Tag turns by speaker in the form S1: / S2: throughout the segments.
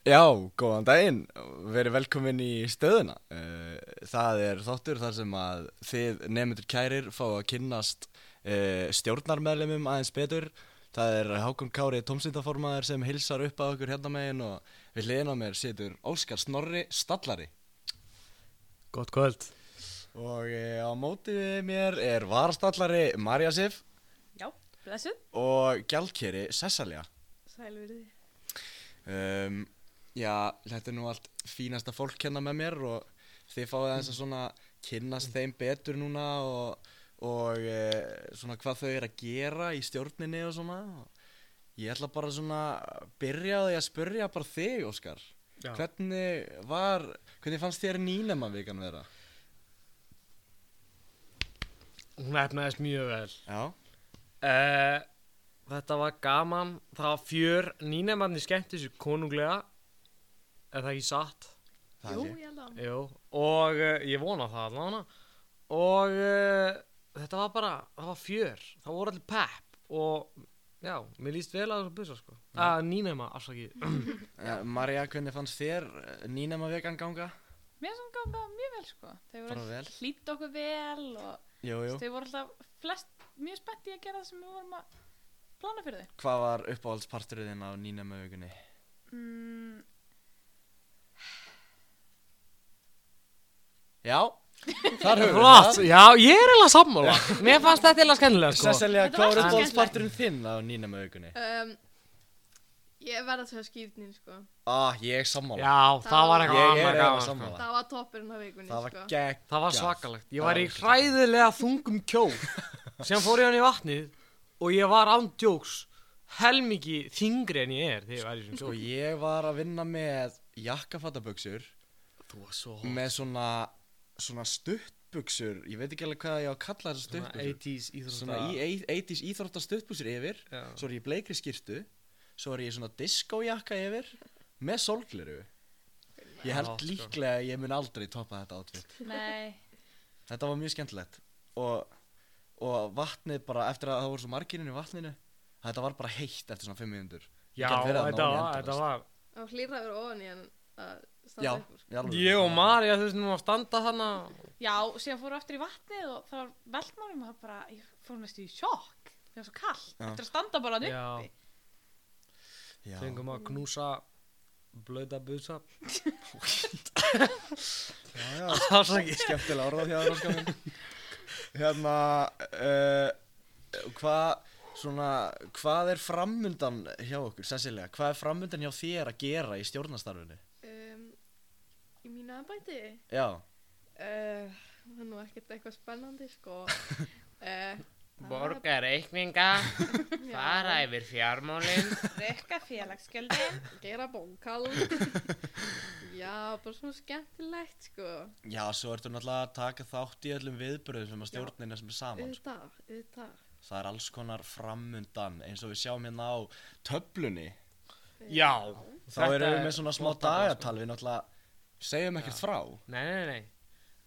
S1: Já, góðan daginn, verið velkomin í stöðuna. Eh, Það er þáttur þar sem að þið nefnendur kærir fá að kynnast eh, stjórnarmeðlemum aðeins betur. Það er Hákon Kári tómsýndaformaður sem hilsar upp að okkur hérna megin og við hliðin á mér situr Óskar Snorri Stallari.
S2: Gott kvöld.
S1: Og eh, á móti við mér er varastallari Marja Sif
S3: Já, blessuð.
S1: og gjaldkeri Sessalja.
S3: Sælu verið þið.
S1: um, Já, þetta er nú allt fínasta fólk hérna með mér og þið fáið aðeins að svona kynnast þeim betur núna og, og e, svona hvað þau eru að gera í stjórninni og svona Ég ætla bara svona að byrja á því að spyrja bara þig, Óskar
S2: Já.
S1: Hvernig var, hvernig fannst þér nýnema vikan vera?
S2: Hún efnaðist mjög vel.
S1: Já,
S2: Uh, þetta var gaman. Það var fjör. Nýnemanni skemmti sér konunglega. Er það ekki satt?
S1: það
S3: Jú,
S1: er ég
S3: ég held að.
S2: Jú. Og uh, ég vona það allavega. Og uh, þetta var bara, það var fjör. Það voru allir pepp. Og já, mér líst vel að þessu busa sko. Að nýnema, afsakið.
S1: Eh, Marja, hvernig fannst þér nýnema vikan ganga?
S3: Mér sem ganga mjög vel, sko. Þau
S1: Bara
S3: voru
S1: vel.
S3: hlýtt okkur vel og
S1: Jú, jú,
S3: þau voru alltaf flest mjög spennt í að gera það sem við vorum að plana fyrir þau.
S1: hvað var uppáhaldsparturinn á nýnema vikunni?
S3: Mm,
S1: Já, þar höfum við
S2: Flott, já, ég er eiginlega sammála. Mér fannst þetta eiginlega skemmtilega sko.
S1: Sesselja,
S3: Þetta
S1: hvað
S3: var
S1: var
S3: skemmtilegt.
S1: uppáhaldsparturinn þinn á nýnema vikunni?
S4: Um, ég verða að segja skýrnin sko.
S1: Ah, ég er sammála
S2: Já, það var eitthvað
S1: Ég er
S2: annað
S1: eiginlega
S2: gaman sko.
S1: sammála
S4: Það var toppurinn á vikunni
S1: Það var
S4: sko.
S1: gegg
S2: Það var svakalegt. Ég
S1: Það
S2: var
S1: var
S2: í
S1: svakalegt.
S2: hræðilega þungum kjól. Síðan fór ég hann í vatnið og ég var ándjóks helmingi þingri en ég er þegar ég var í þessum
S1: Sko,
S2: kjól.
S1: ég var að vinna með jakkafattaböksur
S2: Þú var svo
S1: með svona, svona stuttbuksur ég veit ekki alveg hvað ég á að kalla þessar stuttbuksur
S2: 80s
S1: sko. Svona
S2: íþrótta.
S1: í- ei- 80s íþrótta stuttbuksur yfir
S2: Já.
S1: svo er ég í bleikri skýrtu svo er ég í svona diskojakka yfir með solgleru Ég
S2: Já,
S1: held
S2: sko.
S1: líklega að ég mun aldrei toppa þetta átfitt
S3: nei,
S1: Þetta var mjög skemmtilegt og, og vatnið bara eftir að það voru svo margininu í vatninu þetta var bara heitt eftir svona 5 minútur Ég
S2: Já,
S1: gat verið
S2: þetta
S1: þarna ofan í endalaust.
S2: var, þetta var.
S4: Og hlýra verið ofan í hann að
S1: Já,
S4: standa upp úr.
S1: í alvöru.
S2: Ég og Marja þau sem var að standa þarna.
S3: já, síðan fóru aftur í vatnið og það var veldmálum og það bara, ég fór næstu í sjokk. Það var svo kallt.
S1: Já.
S3: Eftir að standa bara hann
S2: Já.
S3: uppi.
S1: Já.
S2: Fengum að knúsa blöða busa.
S1: Já, já,
S2: Það var ekki.
S1: skemmtilega orða því að það er minn Hérna uh, Hvað svona, hvað er framundan hjá okkur, Cecilia, hvað er framundan hjá þér að gera í stjórnastarfinu?
S4: Um, í mínu ennbæti.
S1: Já,
S4: Uh, það er nú ekkert eitthvað spennandi sko. Uh,
S5: Borga reikninga,
S4: já,
S5: fara yfir fjármálin,
S3: Rekka félagsgjöldin.
S4: Gera bókal. já, bara svona skemmtilegt sko.
S1: já, svo ertu náttúrulega að taka þátt í öllum viðbröðum sem að stjórnin er sem er saman, sko.
S4: Auðvitað, auðvitað.
S1: það er alls konar framundan eins og við sjáum hérna á töflunni
S2: Já.
S1: þá
S2: þetta
S1: erum við
S2: er
S1: með svona smá
S2: flott tafla, sko.
S1: dagatal við náttúrulega segjum ekkert frá
S2: Nei, nei, nei.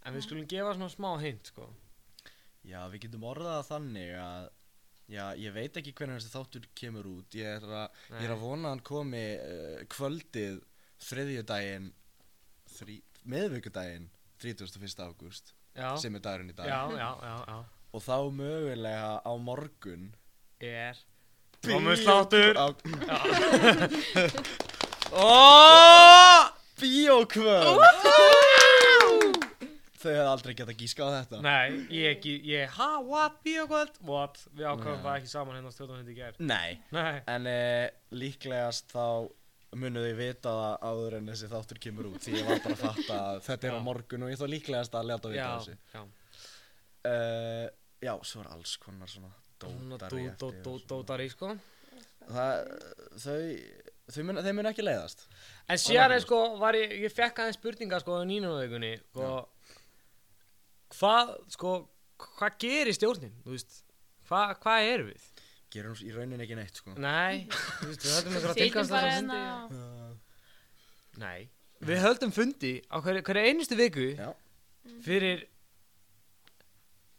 S2: En við skulum gefa svona smá hint, sko.
S1: já við getum orðað það þannig að já ég veit ekki hvernig þessi þáttur kemur út ég er að, ég er að vona að hann komi uh, kvöldið þriðjudaginn þrí, meðvikudaginn 31. ágúst
S2: Já,
S1: sem er dagurinn í dag
S2: já, já, já, já.
S1: og þá mögulega á morgun
S2: er Bíóþáttur
S1: á
S2: oh!
S1: bíókvöld þau hefðu aldrei gett að gíska á þetta
S2: Nei, ég ekki, ég, ha, what, bíókvöld What, við ákvæmum
S1: Nei.
S2: það ekki saman hérna á stjórnum hindi gær
S1: Nei,
S2: Nei,
S1: en e, líklegast þá munu þau vita það áður en þessi þáttur kemur út því ég var bara að fatta að þetta er á
S2: Já.
S1: morgun og ég þá líklegast að leta vita
S2: já,
S1: þessi
S2: já
S1: uh, Já, svo er alls konar svona
S2: Svona
S1: dótari
S2: dó- dó-
S1: eftir
S2: dó-
S1: og svona.
S2: dótari, sko
S1: Það, þau, þau mun, þeim mun ekki leiðast
S2: En síðan, er, sko, var ég, ég fekk aðeins spurninga, sko, á nýnunavegunni sko, Hvað, sko, hvað gerir stjórnin, þú veist Hva, hvað erum við?
S1: Gerum í rauninni ekki neitt sko
S2: Nei, þú veist, við höldum
S1: um
S2: einhverja
S3: Sýtum
S2: tilkast
S3: bara hérna.
S2: Nei, við höldum fundi á hverju hver einustu viku
S1: Já,
S2: fyrir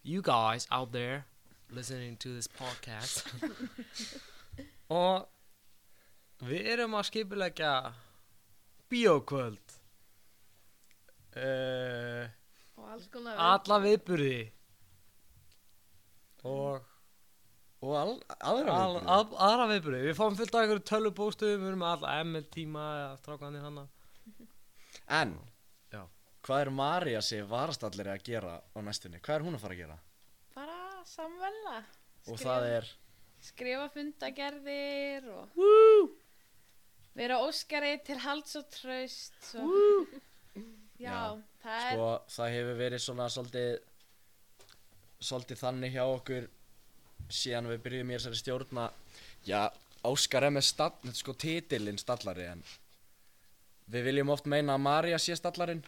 S2: you guys out there listening to this podcast og við erum að skipulegja bíókvöld uh,
S4: og alls konar
S2: alla viðburði og
S1: Og al, aðra
S2: Al,
S1: viðburði.
S2: að, aðra viðbröð, við fáum fullt af einhverju tölvubókstöðum, við erum alltaf ML tíma eða strákanir hana
S1: En
S2: Já.
S1: Hvað er Marja sig varastallir að gera á næstunni? Hvað er hún að fara að gera?
S4: bara samvela
S1: Og það
S3: um
S1: er
S4: skrifa fundagerðir og vera óskari til halds og tröst og já,
S1: Já,
S4: það er
S1: sko, það hefur verið svona svolítið svolítið þannig hjá okkur síðan við byrjum í þessari stjórna já, Óskar er með stall, sko titilinn stallari en við viljum oft meina að Marja sé stallarin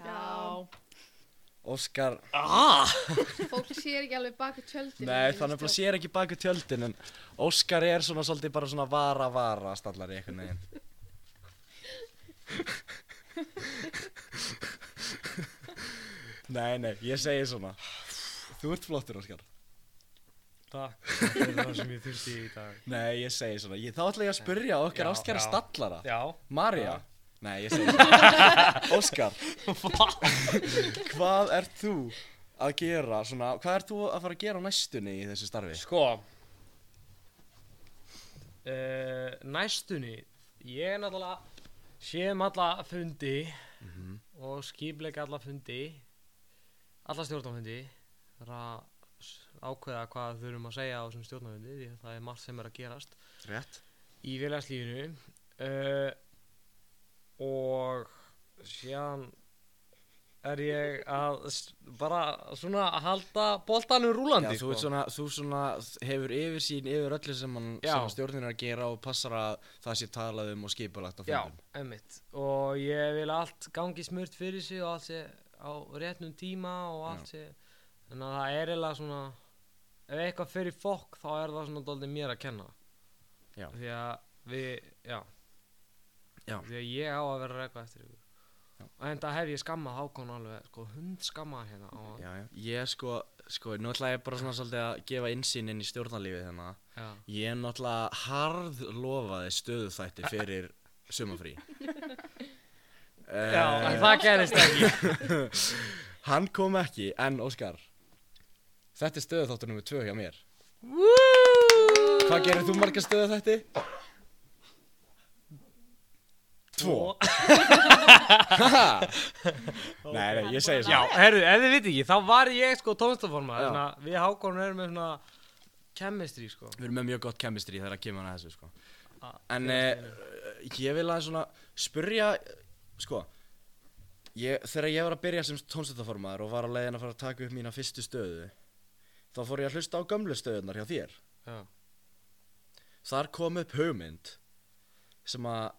S4: Já.
S1: Óskar,
S2: ah!
S4: fólk sér ekki alveg baku tjöldin sko.
S1: nei þannig að það sér ekki baku tjöldin en Óskar er svona svolítið bara svona vara-vara stallari einhvern veginn Nei, nei, ég segi svona Þú ert flottur, Óskar
S2: Takk, þetta er það sem ég þurfti í dag
S1: Nei, ég segi svona, ég, þá ætla ég að spyrja okkar
S2: Já,
S1: ástkæra
S2: já.
S1: stallara
S2: Já
S1: Marja Nei, ég segi svona Óskar Hvað ert þú að gera svona, hvað ert þú að fara að gera á næstunni í þessu starfi?
S5: Sko,
S2: uh, Næstunni, ég er náttúrulega séum alla fundi
S1: Mhm.
S2: og skipleika alla fundi alla stjórnafundi það er að s- ákveða hvað við þurfum að segja á þessum stjórnafundi því að það er margt sem er að gerast
S1: Rétt
S2: í félagslífinu uh, og síðan er ég að s- bara svona að halda boltanum
S1: Já,
S2: rúlandi sko.
S1: þú, ert svona, þú svona hefur yfirsýn yfir öllu sem, hann,
S2: Já.
S1: sem stjórnin er að gera og passar að það sé talað um og skipulagt á
S2: Já,
S1: fundum
S2: emmitt og ég vil að allt gangi smurt fyrir sig og allt sé á réttnum tíma og allt sé þannig að það er eiginlega svona ef eitthvað fer í fokk þá er það svona doldið mér að kenna
S1: Já.
S2: því að við, já
S1: Já.
S2: því að ég á að vera að reka eftir ykkur og enda hef ég skammað Hákon alveg sko hund skammað hérna á hann.
S1: Já, já. Ég sko, sko, nú ætla ég bara svona svolítið að gefa innsýn inn í stjórnarlífið hérna
S2: já.
S1: Ég er náttúrulega harð lofaði stöðuþætti fyrir sumafrí.
S2: já,
S1: uh,
S2: en það gerist ekki
S1: Eh, hann kom ekki, en Óskar, þetta er stöðuþáttur nummið tvö hjá mér. Hvað gerir þú marga stöðuþætti? Tvo. Haha. nei, nei, ég segi
S2: Já,
S1: svona.
S2: herru, ef þið viti ekki, þá var ég sko tónstaforma,
S1: Já.
S2: þannig að við Hákon erum með svona chemistry sko.
S1: Við erum með mjög gott chemistry þegar að kemur hann að þessu, sko.
S2: A-
S1: En eh, ég vil aðeins svona spyrja, eh, sko, ég, þegar ég var að byrja sem tónstættaformaður og var á leiðin að fara að taka upp mína fyrstu stöðu, þá fór ég að hlusta á gömlu stöðunar hjá þér.
S2: Já.
S1: Þar kom upp hugmynd sem að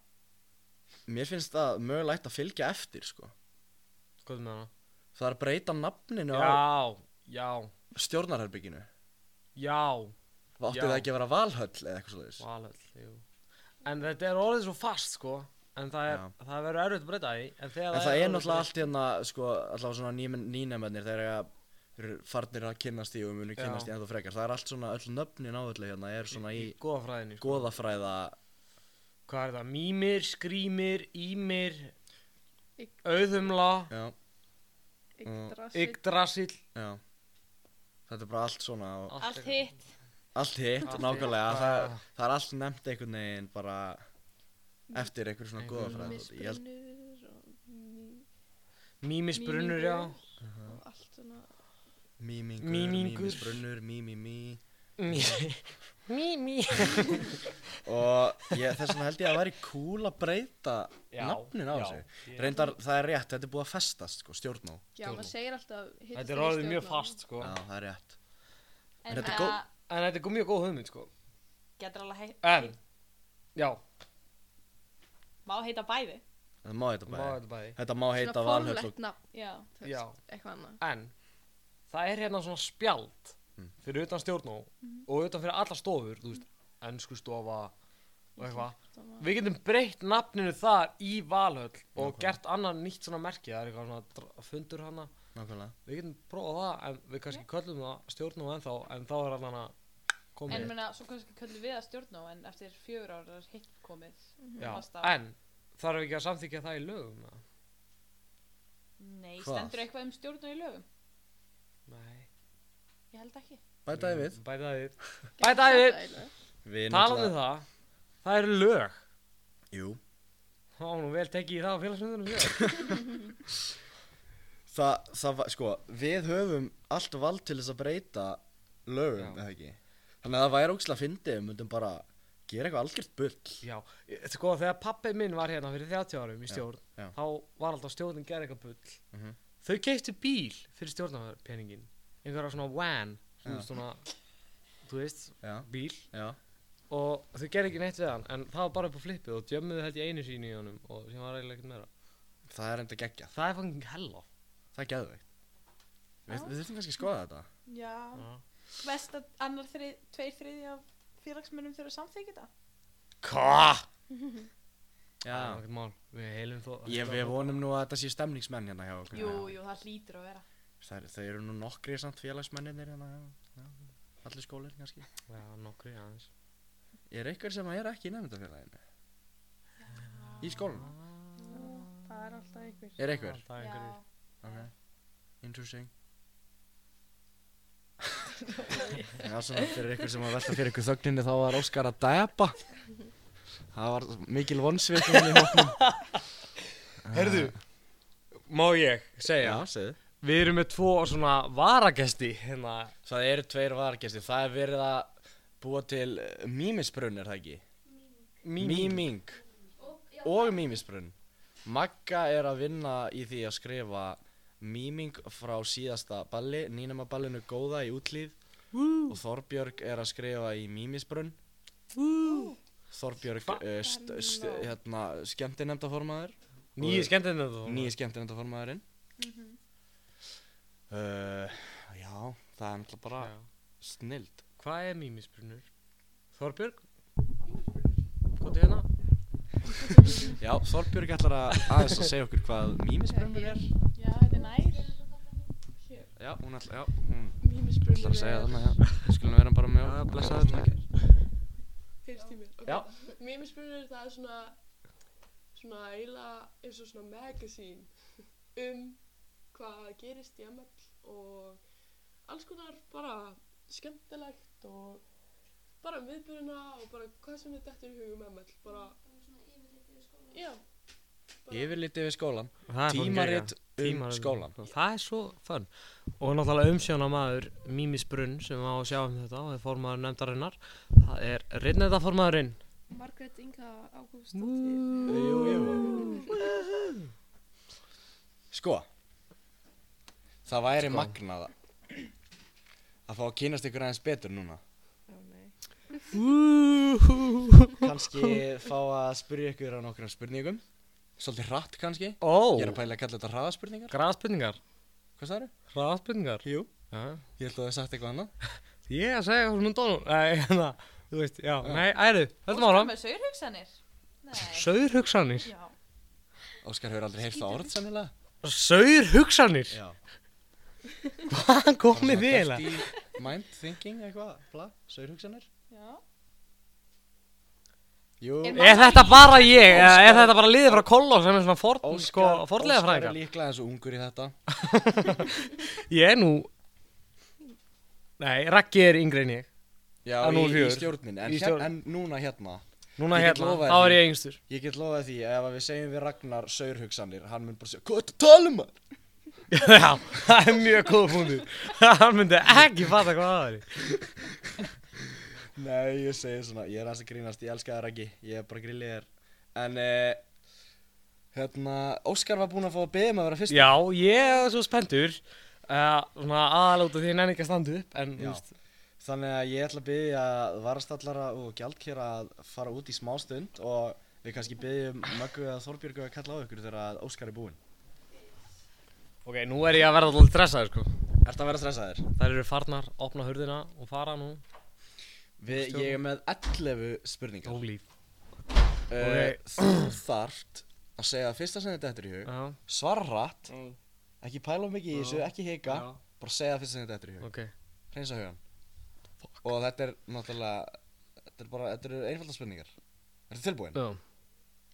S1: mér finnst það mögulegt að fylgja eftir, sko.
S2: Hvað með hana?
S1: Það er að breyta nafninu á
S2: Já, já,
S1: stjórnarherbygginu.
S2: já,
S1: Átti
S2: Já.
S1: það ekki að vera valhöll eða eitthvað svoleiðis?
S2: valhöll, jú. En þetta er orðið svo fast, sko, en það, er, það verður erfitt að breyta því. En, þegar
S1: En það er
S2: orðið
S1: náttúrulega
S2: svo-
S1: allt hérna, sko, allavega svona nýmen- nýnemennir þegar ég þeir eru farnir að kynnast í og munu
S2: Já.
S1: kynnast í ennþá frekar. Það er allt svona, öll nöfnin á öllu hérna er svona í
S2: Goðafræðinni, sko.
S1: goðafræða,
S2: Hvað er það? Mímir, skrýmir, ímir,
S4: Ygg-
S2: auðumla,
S1: já, Mm.
S4: Yggdrasil.
S2: yggdrasil.
S1: já. Þetta er bara allt svona og
S4: allt hitt
S1: allt hitt,
S2: Allt hitt.
S1: nákvæmlega.
S2: Já.
S1: Það, það er allt nefnt einhvern veginn bara eftir einhver svona
S2: Einhver
S1: goðafræða. Ég held,
S4: misbrunnur og mí-
S2: Mímisbrunnur, já.
S4: mýmingur og allt svona
S1: mýmingur,
S2: Mýmingur.
S1: mýmisbrunnur, mýmimi.
S2: Mí- Mí, mí.
S1: Og ég, þess vegna held ég að það væri cool að breyta
S2: Já,
S1: nafnin á
S2: já.
S1: þessu. Reyndar, það er rétt, þetta er búið að festast, sko, stjórnmá.
S4: já, maður segir alltaf hittist
S2: Þetta er
S4: ekki
S2: orðið mjög
S4: stjórnmál.
S2: fast, sko.
S1: Já, það er rétt.
S3: En
S1: Þetta er
S3: það
S1: góð-
S2: En þetta er mjög góð hugmynd, sko.
S3: getur alveg heit,
S2: En, já,
S3: má heita bæði.
S1: Það má heita
S2: má
S1: bæði.
S2: þetta bæði.
S1: Þetta má heita
S4: svona
S1: Valhöll og...
S4: formlegt nafn
S3: Já.
S4: þú
S2: Já.
S4: veist, eitthvað annað
S2: en það er hérna svona spjald fyrir utan stjórnó
S3: Mhm.
S2: og utan fyrir alla stofur, þú veist, ennsku stofa og eitthvað.
S4: Íslandsstofa.
S2: Við getum breytt nafninu þar í Valhöll og gert annan nýtt svona merki, það er eitthvað svona dr- fundur hana.
S1: Nákvæmlega.
S2: Við getum prófað það en við kannski köllum það stjórnó ennþá en þá er allan að
S3: En
S2: komið.
S3: meina, svo kannski köllum við að stjórna en eftir fjögur ár er hitt komið.
S2: Já,
S3: fast af.
S2: en Þarf ekki að samþykja það í lögum? eða?
S3: Nei,
S1: Hvað?
S3: stendur eitthvað um stjórnum í lögum?
S2: Nei.
S3: Ég held ekki.
S1: Bætaði við
S2: Bætaði við. Bætaði við.
S1: Við
S2: Talandi um það. Það eru lög.
S1: Jú
S2: Þá var nú vel tekið í það á félagsmyndunum hér.
S1: Það, það var, sko, við höfum allt vald til þess að breyta lögum,
S2: Já.
S1: eða ekki? Þannig að það væri ógislega fyndið, við myndum bara gera eitthvað algjört bull.
S2: Já, ég- sko þegar pappi minn var hérna fyrir 30 árum í stjórn,
S1: já.
S2: þá var alltaf stjórnin gerði eitthvað bull.
S1: Mhm.
S2: Þau keiptu bíl fyrir stjórnarpeningin, einhverja svona van, svona,
S1: Já.
S2: svona, þú veist,
S1: Já,
S2: bíl
S1: já.
S2: og þau gerði ekki neitt við hann, en það var bara upp á flippið og djömmuðu held í einu sínu í honum og sem var eiginlega ekkert meira.
S1: Það er enda geggjað.
S2: Það er fangin hella.
S1: Það er geðveikt. Við,
S3: Já.
S1: við þurfum kannski að skoða þetta.
S3: Já. Vest að annar þrið, tveir þriði af félagsmönnum þurfa að samþykja þetta.
S1: Hva?
S2: Já. Það er ekkert mál, við heilum þó.
S1: Ég, við vonum nú að þetta séu stemningsmenn hérna hjá okkur.
S3: Jú, jú, það hlýtur að vera.
S1: Það, þau eru nú nokkri samt félagsmennir hérna, já. já. Allir skólir kannski.
S2: Já, nokkri aðeins.
S1: Er einhver sem er ekki í nefndafélaginu? Í skólanum?
S4: Það er alltaf einhver.
S1: Er einhver?
S2: Alltaf einhverjir.
S3: Já.
S1: Ok, interesting Já, svona fyrir ykkur sem að velta fyrir ykkur þögninni þá var Óskar að dæpa Það var mikil vonsvikinn í hóknum
S2: Herðu, má ég segja?
S1: segðu
S2: Við erum með tvo svona varagesti hérna.
S1: Það eru tveir vargesti, það er verið að búa til eh, mýmisbrunn er það ekki? Mýming Og mýmisbrunn Magga er að vinna í því að skrifa mýming frá síðasta balli, nýnema ballinu góða í útlíð og Þorbjörg er að skrifa í Mímisbrunn Þorbjörg uh, st st hérna, skemmtinefndaformaður
S2: Nýju skemmtinn þetta þó.
S1: nýja skemmtinefndaformaðurinn uh, já, það er náttúrulega bara
S2: Já.
S1: snild
S2: Hvað er mýmisbrunur? Þorbjörg? Kóti hérna?
S1: já, Þorbjörg ætlar að aðeins að segja okkur hvað Mímisbrunn er
S3: Já, þetta er nær.
S1: já, hún ætlar, já, hún
S4: Mímisbrunni
S1: ætlar að segja þarna já. Við skulum vera bara með
S2: Já, blessaður.
S4: Fyrst í mér. ok.
S2: Já.
S4: Mímisbrunni það er svona, svona eiginlega eins og svona magazine um hvað gerist í ML og alls konar bara skemmtilegt og bara um viðbyrjuna og bara hvað sem við dettur í hugum ML bara Já, bara-
S1: yfirliti við skólan
S2: Það er fólk
S1: tímarit
S2: geggjað.
S1: um
S2: Tímarit.
S1: skólan
S2: Það er svo fönn. Og náttúrulega umsjóna maður mýmisbrunn sem á að sjá um þetta og er formaður nefndarinnar. Það er rinnetaformaðurinn.
S6: Margrét Inga Ágústóttir
S1: jú, jú Sko Það væri
S2: Sko.
S1: magnað að fá að kynast ykkur aðeins betur núna
S6: Já, nei
S1: Kanski fá að spyrja ykkur á nokkrum spurningum Svolítið hratt kannski
S2: Ó,
S1: Ég er að pæla að kalla þetta hraðaspurningar
S2: graðspurningar.
S1: Hvað það eru?
S2: Graðspurningar.
S1: Jú
S2: Já.
S1: Ég held að það er sagt eitthvað annað
S2: Ég að segja eitthvað svona dónum. Nei, hérna, þú veist, já. Nei, æru, höldum
S3: Óskar
S2: áram.
S3: með saurhugsanir. Nei.
S2: Sauður hugsanir.
S3: Já.
S1: Óskar hefur aldrei heyrt það orð sennilega
S2: Sauður hugsanir?
S1: Já
S2: Hvaðan komið þið eiginlega?
S1: Dirty mind thinking eitthvað Bla, saurhugsanir
S3: Já.
S1: Jú
S3: Er
S2: Er þetta bara ég, eða er þetta bara liðið frá Kolló sem er svona forn, sko,
S1: Óskar, Óskar
S2: fornlega
S1: er
S2: fræðingar?
S1: líklega eins og ungur í þetta
S2: Ég er nú, nei, Raggi er yngri en ég.
S1: Já,
S2: Að
S1: í,
S2: nú
S1: í
S2: fjör.
S1: stjórnin, en,
S2: Í
S1: hér,
S2: stjórn-
S1: en núna hérna
S2: Núna
S1: Ég get
S2: hérna,
S1: lofað
S2: þá
S1: þér
S2: er
S1: því.
S2: ég yngstur.
S1: Ég get lofað því ef að við segjum við Ragnar saurhugsanir, hann mun bara segja Hvað ertu að tala um maður?
S2: Já, það er mjög góð punktur. Hann myndi ekki fatta hvað það er.
S1: Nei, ég segi svona, ég er aðeins að grínast, ég elska það Raggi, ég er bara grillið þér En, eh, hérna, Óskar var búinn að fá að beða um að vera fyrst
S2: Já, ég er svo spenntur, uh, svona aðalóta því ég nenni ekki að standa upp, en,
S1: Já.
S2: þú veist,
S1: Þannig að ég ætla að byggja varastallara og gjaldkera að fara út í smástund og við kannski byggjum Möggu eða Þorbjörgu að kalla á ykkur þegar að Óskar er búinn
S2: ok, nú er ég að verða alltaf stressaður, sko.
S1: Ertu að vera stressaðir?
S2: Þær eru farnar, opna hurðina og fara nú.
S1: Við, ég er með 11 spurningar
S2: Ólíf.
S1: Eh, Þú þarft að segja það fyrsta sem þetta eftir í hug
S2: Já,
S1: svara hratt,
S2: Mm.
S1: ekki pæla of mikið í þessu,
S2: Já.
S1: ekki hika,
S2: Ah. Já.
S1: bara segja það fyrst sem þetta er eftir í hug,
S2: ok.
S1: reynsa hugan. Og þetta er náttúrulega, þetta er bara, þetta eru einfalda spurningar. Er þetta tilbúin?
S2: Já.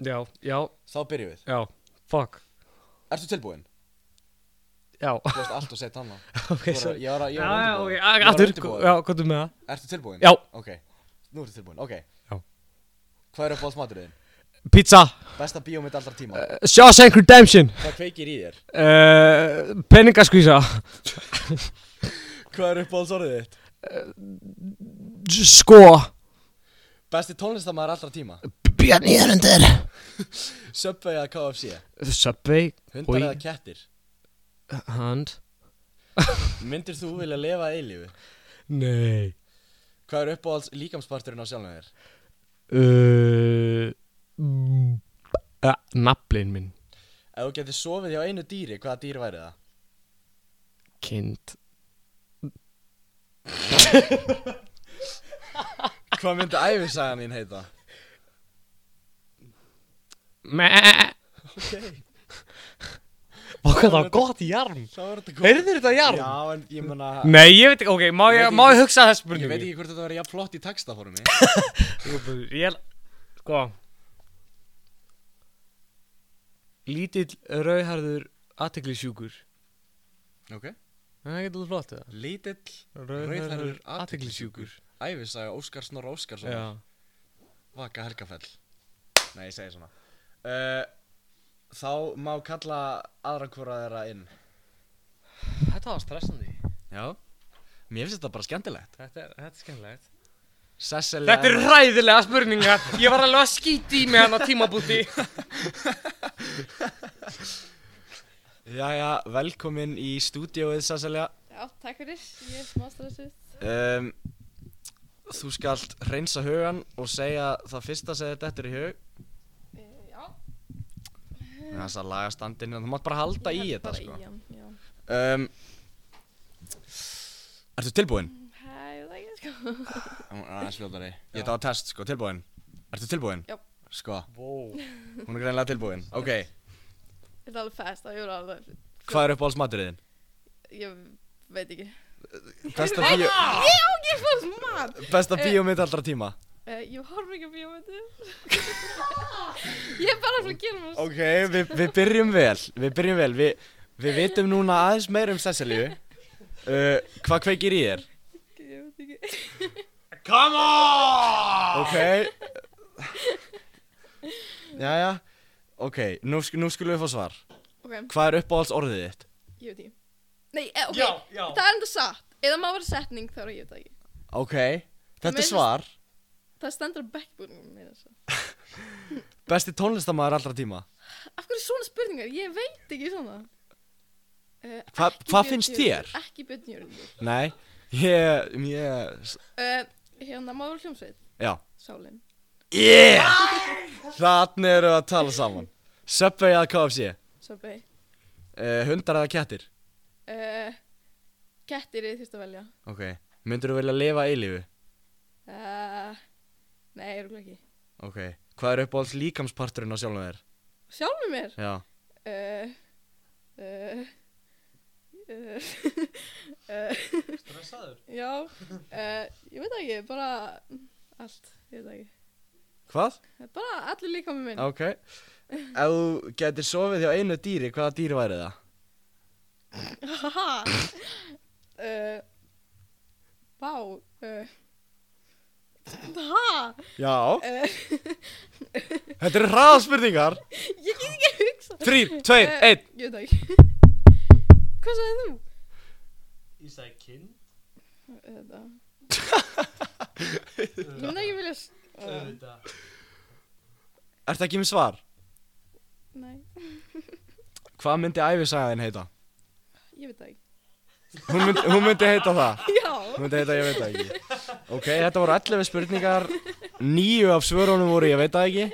S2: Já, já,
S1: Þá byrjum við.
S2: já, fuck
S1: Ertu tilbúin?
S2: Já,
S1: Þú veist allt og sett annað.
S2: ok,
S1: Þú
S2: svo
S1: var- Ég var að, ég
S2: Já,
S1: var að
S2: já, ok, Ah,
S1: undirbúa þig. Ég var að
S2: aftur,
S1: undirbúa
S2: já,
S1: þig.
S2: hvað með það?
S1: Ertu tilbúin?
S2: Já.
S1: Ok, nú ertu tilbúin, ok.
S2: Já.
S1: Hvað er uppáhalds maturinn?
S2: Pizza,
S1: Besta bíómynd allra tíma.
S2: uh, Shawshank Redemption,
S1: Hvað kveikir í þér?
S2: uh, peningaskvísa,
S1: Hvað er uppáhalds orðið þitt?
S2: sko,
S1: Besti tónlistamæður allra tíma.
S2: Bjarni Jörundur,
S1: Subway eða KFC?
S2: Subway,
S1: Hundar
S2: Oj.
S1: eða kettir?
S2: Hand,
S1: Myndir þú vilja lifa að eilífu?
S2: nei,
S1: Hvað er uppáhalds líkamsparturinn á sjálfum þér?
S2: uh, mm, uh, naflin minn,
S1: Ef þú getur sofið hjá einu dýri, hvaða dýr væri það?
S2: kind,
S1: Hvað myndi æfisagan þín heita?
S2: meh,
S1: Ok,
S2: og hvað það var gott jarm,
S1: þá er þetta góð
S2: heyrðir þetta jarm?
S1: Já, en ég meina
S2: Nei, ég veit ekki, ok, má
S1: Ég veit
S2: ég,
S1: ekki-
S2: má ég hugsa þess
S1: Ég
S2: spurningu?
S1: veit ekki hvort þetta verið jafn flott í textaformi
S2: Ég, ég sko Lítill rauðharður athyglisjúkur
S1: Ok
S2: Það getur þú flott eða?
S1: Lítill Rauðhærður
S2: Rauðharður
S1: athyglisjúkur.
S2: athyglisjúkur
S1: æfisaga Óskar Snorra Óskarsson
S2: Já
S1: Vaka Helgafell Nei, ég segi svona uh, Þá má kalla aðra hvora þeirra inn
S2: Þetta var stressandi
S1: Já Mér finnst þetta bara skemmtilegt
S2: Þetta er, þetta er skemmtilegt
S1: Sesselja
S2: Þetta eru ræðilega spurningar Ég var alveg að skýti í mig hann á tímabúti
S1: Jæja, velkomin í stúdíóið Sesselja
S6: Já, takk fyrir, ég er smá stressuð.
S1: um, Þú skalt reynsa hugan og segja það fyrsta sem þér dettur í hug
S6: E, já.
S1: Það er að laga standinu Þú mátt bara halda
S6: ég
S1: í
S6: held
S1: þetta
S6: bara
S1: sko
S6: í hann, já.
S1: um, Ertu tilbúin?
S6: Hæ, ég veit ekki, sko.
S1: Hún er aðeins fljótari Ég þetta var test, sko, tilbúin Ertu tilbúin?
S6: Já.
S1: Sko,
S2: Wow
S1: hún er greinlega tilbúin Ok,
S6: Þetta er alveg fast, ég er alveg,
S1: hvað er uppáhalds maturiðin?
S6: ég veit ekki.
S1: Besta, bíó,
S6: Ég á ekki Eh. fólks mat!
S1: besta bíómynd allra tíma
S6: E, ég horf ekki að bíó með þetta. ég er bara að fara að gera mér.
S1: Ok, við, við byrjum vel Við byrjum vel Við, við vitum núna aðeins meira um Cecilíu uh, Hvað kveikir í þér?
S6: Ég veit ekki.
S2: Come on
S1: Ok Jæja Ok, nú, sk- nú skulum við fá svar
S6: Ok,
S1: Hvað er uppáhalds orðið þitt?
S6: ég veit ekki. Nei, e, ok,
S2: Já, já.
S6: það er enda satt. Ef það má vera setning, þá er ég þetta ekki.
S1: Ok, þetta er
S6: Mér finnst-
S1: svar
S6: Það stendur að backbúningum meira svo.
S1: Besti tónlistamæður allra tíma
S6: Af hverju svona spurningar? Ég veit ekki svona. Uh,
S1: Hva- hvað finnst þér?
S6: Ekki Björn Jörgundur.
S1: Nei, ég, ég, s-
S6: Uh, hérna, Máru Hljómsveit,
S1: já
S6: Sálin.
S1: Yeah! Þannig eru að tala saman Subway eða KFC
S6: Sorbey.
S1: uh, Hundar eða kettir
S6: Uh, kettir ég þurft að velja.
S1: Ok Myndur þú vilja lifa eilífu?
S6: Uh, nei, ég eru ekki.
S1: Ok Hvað er uppáhalds líkamsparturinn á sjálfum þér?
S6: Sjálfur mér.
S1: Já
S6: Uh, uh, uh, uh,
S2: Stressaður
S6: já, uh, ég veit það ekki, bara allt, ég veit það ekki. Eh,
S1: Hvað?
S6: Bara allir líka með minn.
S1: Ok Ef þú getur sofið hjá einu dýri, hvaða dýr væri það?
S6: Haha uh, Vá uh, Ha
S1: Já
S6: uh,
S1: Þetta eru hraðaspurningar
S6: Ég get ekki að hugsa
S1: 3, 2,
S6: Eh,
S1: 1
S6: Ég veit það ekki Hvað sagði þú?
S2: Ég sagði kind
S6: Þetta Ég mun ekki vilja s- uh,
S1: Ertu ekki með svar?
S6: Nei,
S1: Hvað myndi æfisagaðin heita?
S6: ég veit það ekki
S1: Hún myndi, hún myndi heita það
S6: Já
S1: Hún myndi heita ég veit það ekki Ok, þetta voru 11 spurningar Níu af svörunum voru ég veit það ekki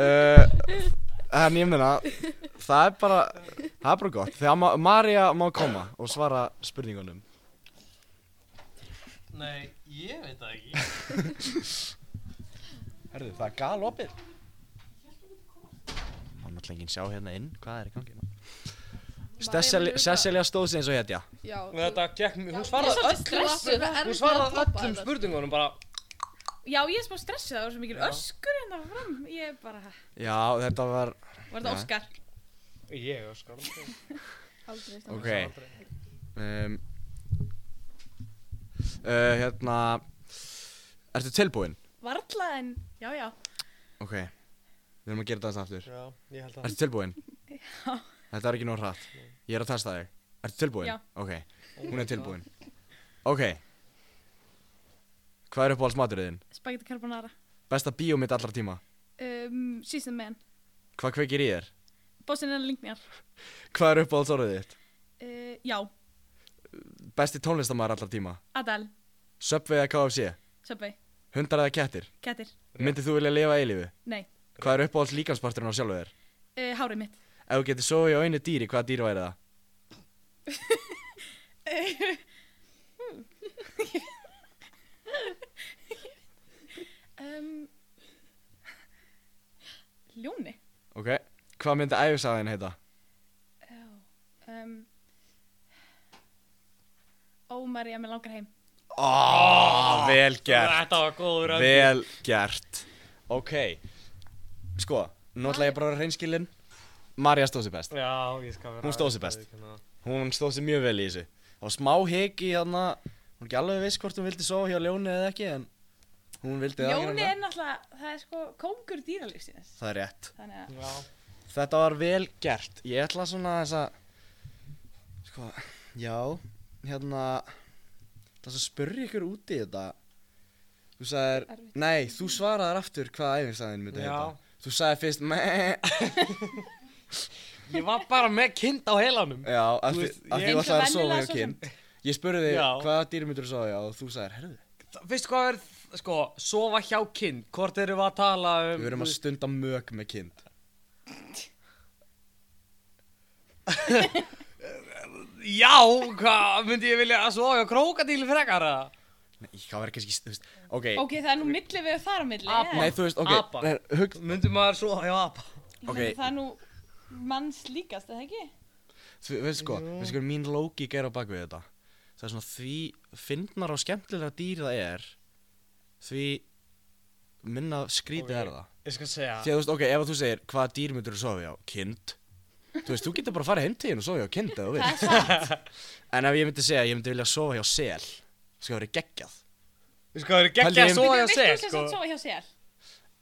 S1: uh, En ég meina Það er bara Það er bara gott Þegar ma Marja má koma og svara spurningunum
S2: Nei, ég veit það ekki
S1: Herðu, það er gal opið Það er náttúrulega enginn sjá hérna inn Hvað er í gangi?
S6: María mun hugsa-
S1: Cecilia stóð sig eins og hetja
S6: Já
S2: Þetta gekk, mér- hún
S6: Ég er
S2: svaraði
S6: svolítið
S2: öllum
S6: stressuð, það er
S2: Hún
S6: erfitt að
S2: svaraði
S6: toppa
S2: öllum
S6: þetta.
S2: spurningunum bara
S3: Já, ég er smá stressið, það var svo mikil
S2: Já.
S3: öskur hérna fram. Ég er bara,
S1: Já, þetta var,
S3: var þetta
S1: Já.
S3: Óskar?
S2: Ég öskar aldrei.
S6: Aldrei veist það.
S1: ok,
S2: Öskar aldrei.
S1: um, uh, hérna, ertu tilbúin?
S3: Varla en, já, já.
S1: Ok, við erum að gera þetta aðeins aftur.
S2: Já, ég held að.
S1: Ertu tilbúin? Já. Þetta var ekki nóg hratt. Ég er að testa þig. Ertu tilbúin?
S3: Já.
S1: Ok,
S2: Oh
S1: hún
S2: my
S1: er tilbúin. Ok, hvað er uppáhaldsmaturinn þinn?
S3: Spagetti carbonara.
S1: Besta bíómynd allra tíma?
S3: Um, season man.
S1: Hvað kveikir í þér?
S3: Bossin er lingmjar.
S1: Hvað er uppáhaldsorðið þitt?
S3: Uh, já,
S1: Besti tónlistamæður allra tíma?
S3: Adele,
S1: Subway eða KFC?
S3: Subway,
S1: Hundar eða kettir?
S3: kettir.
S1: Myndið þú vilja lifa eilífu?
S3: Nei,
S1: Hvað er uppáhalds líkansparturinn á sjálfu þér?
S3: uh, hárið mitt.
S1: Ef þú getur sofið á einu dýri, hvaða dýr væri það?
S3: Um, ljóni.
S1: Ok, hvað myndi æfisaðin heita?
S3: Já. Um, ó, Marja, mér langar heim.
S1: Oh, vel gert,
S2: Þetta var góður öll.
S1: vel gert Ok, sko, nú ætla ég bara að vera reynskilin Marja stóð sér best
S2: Já, ég skal vera. hérna.
S1: Hún stóð sig best. Hún stóð sér mjög vel í þessu Það var smá hik í hérna Hún er ekki alveg viss hvort hún vildi sofa hjá Ljóni eða ekki En hún vildi það
S3: Ljóni
S1: greinilega.
S3: er náttúrulega, það er sko kóngur dýralífsins.
S1: Það er rétt
S3: Þannig að,
S2: Já,
S1: Þetta var vel gert. Ég ætla svona þess að, sko, já, hérna, það er að spyrja ykkur úti í þetta. Þú sagðir,
S3: Erfitt.
S1: nei, þú svaraðir aftur hvað æfingsæðin myndi
S2: Já.
S1: heita. Þú sagði fyrst, meh,
S2: ég var bara með kind á heilanum.
S1: já, af því
S2: veist,
S1: af því
S2: ég-
S1: þú
S3: Eins og
S1: ætlaðir að sofa
S3: venjulega
S1: hjá
S3: svo sem.
S1: kind. Ég spurði þig,
S2: Já.
S1: hvaða dýr myndur þú sofa hjá og þú sagðir, herðu,
S2: Það- Veistu hvað er, sko, sofa hjá kind. Hvort erum við að tala um?
S1: við erum að stunda mög með kind.
S2: Já, hvað myndi ég vilja að sofa hjá krókadíli frekar eða?
S1: Nei, það var kannski, þú veist, ok,
S3: ok, það er nú milli við þar á milli.
S2: Apa.
S1: nei, þú veist, ok,
S2: Apa.
S1: nei, hug,
S2: Myndi maður sofa hjá apa?
S3: Ég meina,
S1: Ok.
S3: Það er nú manns líkast, eða ekki?
S1: Þú veist sko, veist sko, mín lógík er á bakvið þetta Það er svona því fyndnar og skemmtilega dýr það er Því minna skrítið
S2: Ok.
S1: er það
S2: Ég skal segja.
S1: Því að þú veist, ok, ef þú segir hvaða dýr myndur þú sofa hjá? Kind Þú veist, þú getur bara að fara heimtíðin og sofa hjá kind eða þú
S3: Það er
S1: vilt
S3: satt.
S1: En ef ég myndi segja, að ég myndi vilja sofa hjá sel Sko, það verið geggjað
S2: Sko, það eru geggja
S1: Pældi
S2: að
S1: ég-
S2: sofa hjá
S3: Viltu
S2: sér,
S3: sem
S2: sko.
S3: sagt sofa hjá sér?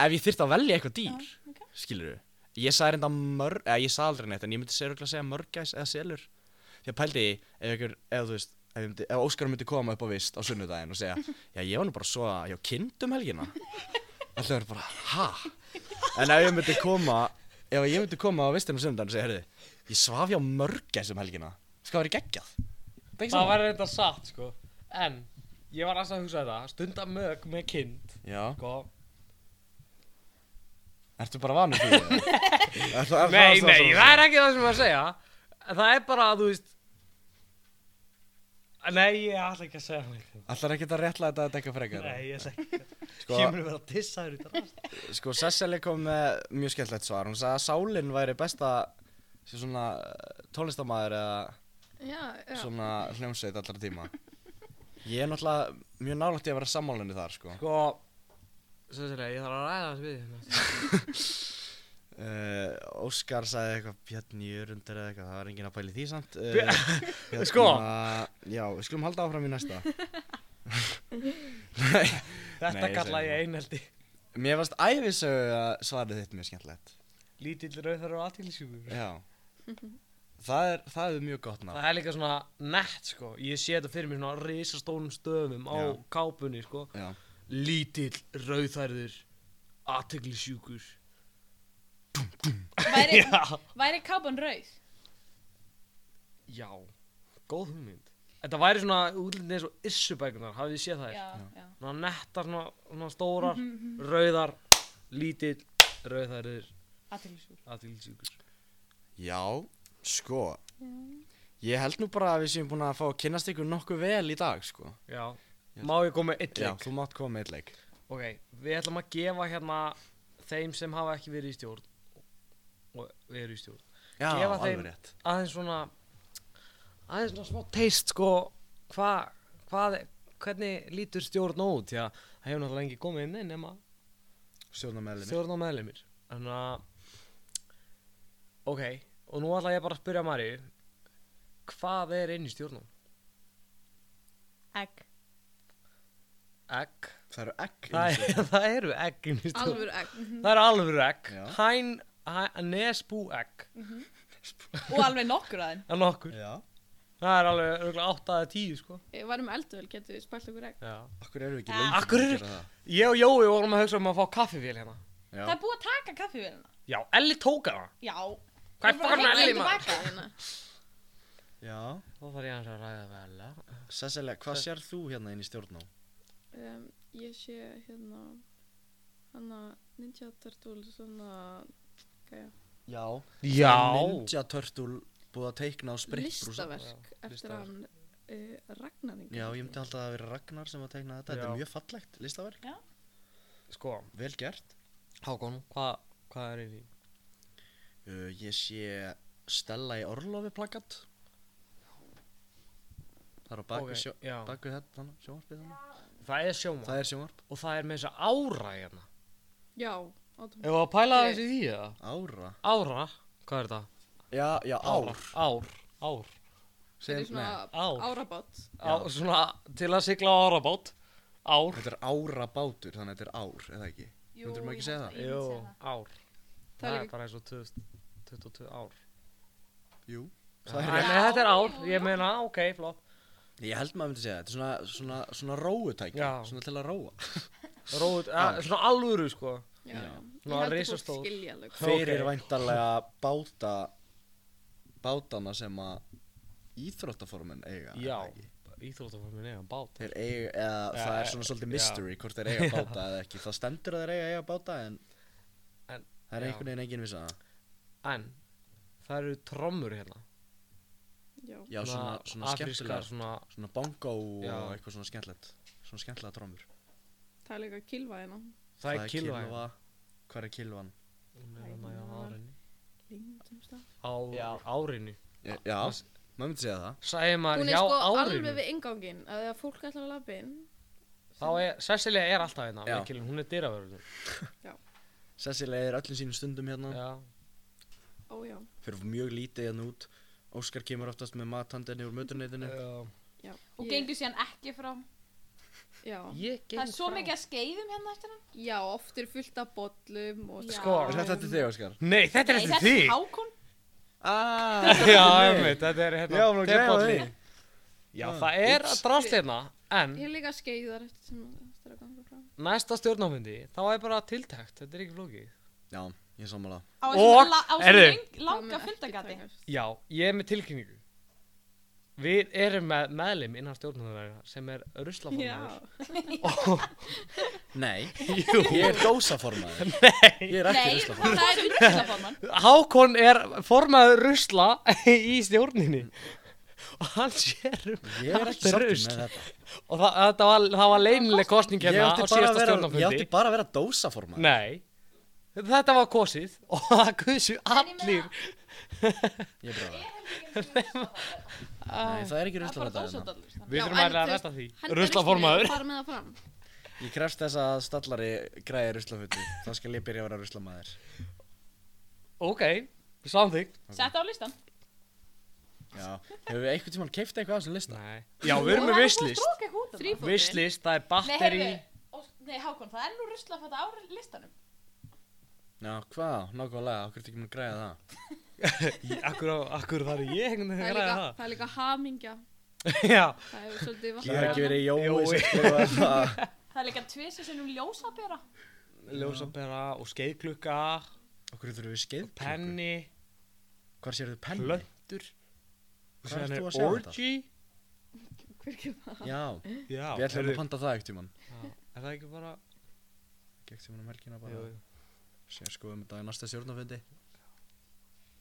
S1: Ef ég þyrfti að velja eitthvað dýr,
S3: Já, ok.
S1: skilur Ég sagði reynda mörg, eða ég sagði aldrei neitt En ég myndi segja, segja mörgæs eða selur Því að pældi ég, ef ykkur, ef þú veist Ef, ég myndi, ef Óskar myndi koma upp á vist á sunnudaginn og segja Já, ég var nú bara svo hjá kindum helgina Alltaf er bara, ha? En ef ég myndi koma Ef ég myndi koma á vistinu á sunnudaginn og segja Herði, ég svaf hjá mörgæs um helgina Ska verið geggjað Það er ekki
S2: Það
S1: saman
S2: var þetta satt, sko. En, ég var alltaf að hugsa þetta. Stunda mög með kind,
S1: Já,
S2: sko.
S1: ertu bara vanur því? eða? Er það- er það-
S2: Nei,
S1: er
S2: nei,
S1: svona-
S2: það er ekki það sem ég var að segja. En Það er bara, þú veist... Nei, ég ætla ekki að segja neitt.
S1: Ætlarðu ekkert að réttlæta þetta eitthvað frekar?
S2: Nei, ég ætla ekki.
S1: Sko-
S2: Ég mun að vera að tissa þér út af rast.
S1: Sko, Cecilia kom með mjög skemmtilegt svar. Hún sagði að sálinn væri besta sem svona eh, tónlistamæður eða
S6: Já, já.
S1: svona hljómsveit allra tíma. Ég er náttúrulega mjög nálægt í að vera sammálinni þar, sko.
S2: Sko, svo sér ég, ég þarf að ræða þessu við. þig.
S1: Uh, Óskar sagði eitthvað Bjarni Jörundur eða eitthvað, það var enginn að pæli því samt. Eh,
S2: Bjö- Sko.
S1: Já, við skulum halda áfram í næsta. Nei,
S2: Þetta
S1: ég
S2: kalla
S1: segi
S2: ég
S1: það.
S2: einhelti.
S1: mér varst æfisögu að svarið þitt mjög skemmtilegt.
S2: Lítill rauðar og aðtílisjúkur.
S1: Já. Það er, það er mjög gott nátt.
S2: Það er líka svona nett, sko. Ég sé þetta fyrir mér svona á risastónum stöfum á
S1: Já.
S2: kápunni, sko.
S1: Já.
S2: lítill, rauðhærður, aðteglisjúkur.
S3: Væri,
S2: Já.
S3: væri kápan rauð?
S2: Já, góð hugmynd. Þetta væri svona útlindin eins og issubækunar, hafið þið séð það?
S3: Já, já.
S2: Svona nettar, svona, svona stórar, rauðar, lítill, rauðhærður,
S3: Athyglisjúkur.
S2: aðteglisjúkur.
S1: Já, sko Ég held nú bara að við séum búin að fá að kynnast ykkur nokkuð vel í dag, sko
S2: Já.
S1: Ég-
S2: Má ég koma með eitt leik?
S1: þú mátt koma með eitt leik
S2: Ok, við ætlum að gefa hérna þeim sem hafa ekki verið í stjórn og eru í stjórn
S1: Já,
S2: Gefa
S1: alveg
S2: þeim-
S1: rétt
S2: aðeins svona aðeins svona smá teist sko hva, hvað, hvernig lítur stjórn út því að það hefur náttúrulega engi komið inn nema
S1: Stjórnarmeðlimi
S2: stjórn á meðlumir þannig að ok, og nú ætla ég bara að spyrja Maríu hvað er inn í stjórnum?
S3: Egg.
S2: Egg
S1: Það eru egg
S2: það, er, það eru egg inn í stjórnum
S6: Alvöru egg
S2: það eru alvöru egg
S1: Já.
S2: hæn, hæn, nesbú egg
S3: Og alveg nokkur aðeins.
S2: að nokkur,
S1: Já
S2: það er alveg örugglega 8 að 10 sko
S6: Við varum eldvel, getur við spælt okkur egg
S2: Já.
S1: Akkur eru ekki
S3: Ah.
S1: lengi
S2: Akkur eru- ég og Jói vorum að hugsa um að fá kaffivél hérna
S1: Já
S3: Það er búið að taka kaffivélina.
S2: já, Elli tóka það
S3: Já.
S2: hvað er fokkan með Elli maður?
S6: maður?
S1: Já
S2: þá þarf ég aðeins að ræða við Ella
S1: Cecilia, hvað sér þú hérna inn í stjórná?
S6: Um, ég sé hérna hann að Ninja Turtles svona gæja,
S1: Já
S2: já,
S1: Ninja Turtle búið að teikna á spritbrúsa
S6: listaverk
S2: Já,
S6: eftir
S2: listaverk.
S6: hann uh, Ragnar Inga
S1: Já, ég myndi alltaf að það vera Ragnar sem að teikna þetta Þetta
S2: Já.
S1: er mjög fallegt listaverk
S2: sko
S1: Vel gert
S2: Hákon, hvað hva er í því?
S1: uh, Ég sé Stella í Orlofi plakat Það er á baku
S2: Ok,
S1: okay. sjó
S2: já.
S1: Baku þetta, sjónvarpið þannig
S2: það er sjóma
S1: Það er sjónvarp
S2: og það er með þess að ára hérna
S6: já, átum
S2: Ef að pæla
S6: Nei.
S2: þessi því eða?
S1: Ára
S2: Ára, hvað er þetta?
S1: Já, já, ár
S2: Ár, ár
S6: þetta
S1: Sem,
S6: er svona
S1: nei,
S2: Ár.
S6: árabát
S2: Á, Svona til að sigla á árabát Ár
S1: Þetta er ára bátur, þannig að þetta er ár, eða ekki? Myndirðu maður ekki segja það?
S3: Jú. ég myndi segja
S2: ár
S6: Það
S2: Það
S6: er
S2: er
S6: líka-
S2: bara eins og 2000 22 ár
S1: Jú
S2: Nei,
S1: Það er
S2: nei, þetta er ár, ég meina, ok, flott
S1: Ég held maður myndi segja þetta, er svona, svona, svona róutæki,
S2: Já.
S1: svona til að róa
S2: Róð, að, eh, svona alvöru, sko
S6: já, já.
S2: Svona
S6: ég held að
S2: risastór.
S6: fólk skilja alveg.
S1: Fyrir okay. væntalega báta, bátana sem að íþróttaformin eiga er
S2: Já,
S1: það ekki?
S2: íþróttaformin eiga bát
S1: Þeir eiga, eða
S2: Já,
S1: það
S2: eh,
S1: er svona svolítið
S2: já.
S1: mystery hvort þeir eiga báta eða ekki Það stendur að þeir eiga eiga báta en,
S2: En-
S1: það er
S2: já.
S1: einhvern veginn enginn vissan það
S2: En, það eru trommur hérna
S6: já,
S1: Já, svona, svona
S2: afrískar,
S1: skemmtilega,
S2: svona
S1: svona bongo og
S2: Já.
S1: eitthvað svona skemmtilegt Svona skemmtilega trómur
S6: það er líka kilva hérna
S2: Það er kilva hérna.
S1: Hvað er kilvan?
S2: Hún er hérna á árinu.
S6: Lindum stað.
S2: Á árinu
S1: Já, Eh, já maður myndi segja það
S2: Sæði maður
S6: hún er
S2: hjá
S6: sko
S2: árinu
S6: alveg við ingangin að þegar fólk ætlar að labba inn
S2: Þá er, Cecilia er alltaf hérna
S1: Já.
S2: Mikilin, hún er dyravörður
S1: Cecilia er öllum sínum stundum hérna
S2: Já,
S6: ó já,
S1: Fyrir mjög lítið hérna út Óskar kemur oftast með mathandinni úr mötuneytinu
S2: já
S6: já
S3: Og
S6: Ég-
S3: gengur síðan ekki frá.
S6: já,
S2: Ég geng
S3: Það er svo
S2: frá.
S3: mikið að skeiðum hérna eftir hann.
S6: já, oft er fullt af bollum og
S3: Já.
S2: Sko,
S1: Er þetta til þig Óskar?
S2: Nei, þetta er
S3: Nei,
S2: eftir
S3: þetta
S2: þig
S3: er hákon.
S1: Ah,
S2: Já, einmitt, þetta er hérna
S1: Já, hún er að
S2: þetta er
S1: gleyma
S2: bolli.
S1: því.
S2: Já,
S1: Ah.
S2: það er að drast hérna En
S6: Ég er líka skeiðar eftir sem eftir að ganga frá.
S2: næsta stjórnámyndi Þá er bara tiltækt, þetta er ekki flókið
S1: Já, ég er sammála
S3: Á
S2: Og-
S3: þessum la- á
S2: heyrðu.
S3: þessum löng-
S6: Það
S3: langa
S6: mun ekki
S3: fundagati.
S6: takast.
S2: Já, ég er með tilkynningu Við erum með meðlim innan stjórnámyndarinnar sem er
S6: Já,
S2: ruslaformaður
S1: Nei,
S2: Jú,
S1: ég er dósaformaður Ég er ekki
S3: Nei,
S1: ruslaformaður
S3: það er um ruslaformann.
S2: Hákon er formaður rusla í stjórninni og hann sér um
S1: Ég er
S2: allt
S1: ekki sáttur
S2: rusl.
S1: með þetta
S2: og það, það, var, það var leynileg kostning
S1: Ég
S2: hérna á
S1: átti bara að vera,
S2: síðasta
S1: ég átti
S2: stjórnafundi
S1: bara að vera dósaformaður
S2: Nei, þetta var kosið og það kusu allir
S1: Ég er bara Nei, það er ekki
S3: Það er bara
S1: ruslaformaður hérna
S3: dósadallur. þannig.
S2: Við
S6: Já,
S2: þurfum
S6: en
S2: að að
S6: þú veist,
S2: rætta því
S6: hann er
S2: Ruslaformaður
S6: ruslaformaður. Fara með það fram.
S1: Ég krefst þess að stallari græði ruslafundi Þá skal ég byrja að vera ruslamaður
S2: Ok, samþygg
S3: Sett á listan.
S1: Já, hefur við einhvern tímann keift eitthvað á þessum lista?
S2: Nei. Já, við erum með
S3: Og það er búið að
S2: vislist
S3: stróka eitthvað út af það.
S6: Þrýfótinn.
S2: Vislist, það er
S3: Nei,
S2: batteri
S3: heyrðu, Ós- nei, Hákon, það er nú rusla þetta á listanum.
S1: Já, hvað? Nákvæmlega, okkur er ekki mann að græða það
S2: Akkur, á- akkur þar er ég einhvern
S6: Það
S2: veginn að
S6: er líka,
S2: græða
S6: það er líka hamingja.
S2: það Já,
S6: Það hefur svolítið
S1: Það hefur
S6: vatnað.
S1: ekki verið Jói
S2: Jói.
S1: sem skrifaði það
S3: Það er líka tvisa sinnum ljósabera.
S2: ljósabera og skeiðklukka
S1: Okkur þurfum við skeið
S2: Penni,
S1: Hvar sérðu penni?
S2: plöntur og
S1: Hvað
S2: síðan
S1: ert þú að
S2: er
S1: segja um þetta?
S2: orgy
S6: Hver ekki það?
S1: Já,
S2: Já,
S1: við ætlum
S2: heyrðu,
S1: að panta það ekkert í mann
S2: já, Er það ekki bara
S1: Gekk tímann um helgina
S2: Jú,
S1: bara
S2: jú.
S1: Sér skoðum þetta í næsta stjórnafundi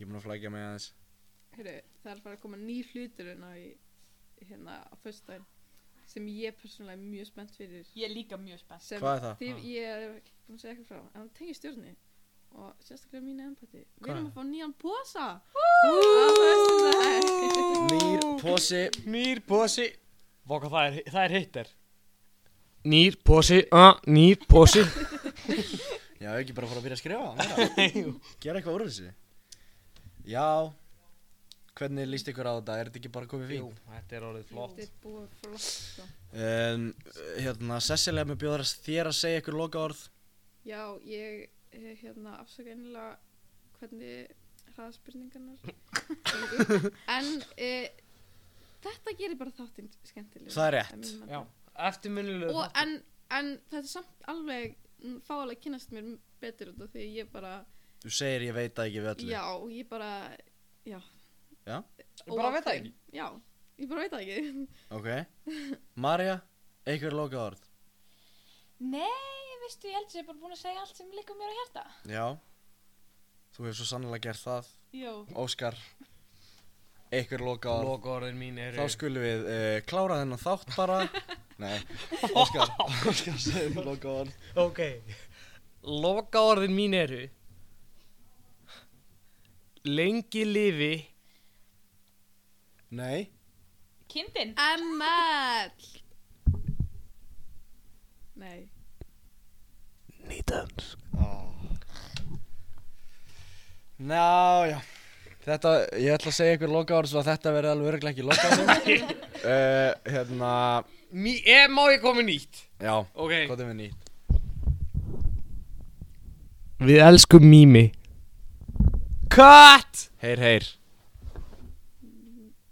S1: Ég er búin að flækja mig aðeins
S6: Heyrðu, það er bara að koma nýr hlutur hérna í, hérna á föstudaginn sem ég persónulega er mjög spennt fyrir.
S3: Ég er líka mjög spennt.
S6: Sem
S1: Hvað er það?
S6: Því
S2: Ha.
S6: ég er ekki búin að segja eitthvað frá, en það tengir stjórni og sérstaklega mínu empati. Við
S1: Hvað?
S6: erum að fá nýjan posa á föstudaginn.
S1: Nýr, posi
S2: Nýr posi Vá hvað það er, það er hittir nýr posi, uh, nýr posi
S1: Já, ég ekki bara að fara að byrja að skrifa meira. Gera eitthvað úr þessu Já Hvernig líst ykkur á þetta? Er þetta ekki bara komið fín?
S2: Jú, þetta er orðið flott
S6: Þetta er búið flott sko.
S1: Um, hérna, Cecilia, mér bjóður þér að segja ykkur loka orð
S6: Já, ég eh, hérna afsaka einlega hvernig hraðspurningarnar gengu. en e, þetta gerir bara þáttinn skemmtilega
S1: Það er rétt.
S2: Já, eftirminnilega
S6: og en, en þetta er samt alveg fálega kynnast mér betur út af því ég bara,
S1: Þú segir ég veit það ekki við öllu
S6: já, ég bara já,
S1: Já.
S2: Ég bara veit það ekki.
S6: já, ég bara veit það ekki
S1: Ok Marja, ykkur loka orð
S3: Nei, veistu, ég held sem ég er bara búin að segja allt sem líka mér á hjarta.
S1: Já Þú hefur svo sannlega gert það
S3: Jó.
S1: Óskar Ykkur loka orð
S2: Loka orðin mín eru
S1: Þá skulum við uh, klára þennan þátt bara Nei, Óskar Óskar segir loka orð
S2: Ok Loka orðin mín eru Lengi lifi
S1: Nei
S3: Kindin.
S6: ML nei,
S2: Nýtans
S1: Ná, já Þetta, ég ætla að segja ykkur loka orð Svo að þetta verði alveg örglega ekki loka orð uh, Hérna
S2: Mí, eh, Má ég koma með nýtt?
S1: Já,
S2: Ok
S1: hvað er við nýtt?
S2: Við elskum Mimi Cut
S1: Heyr, heyr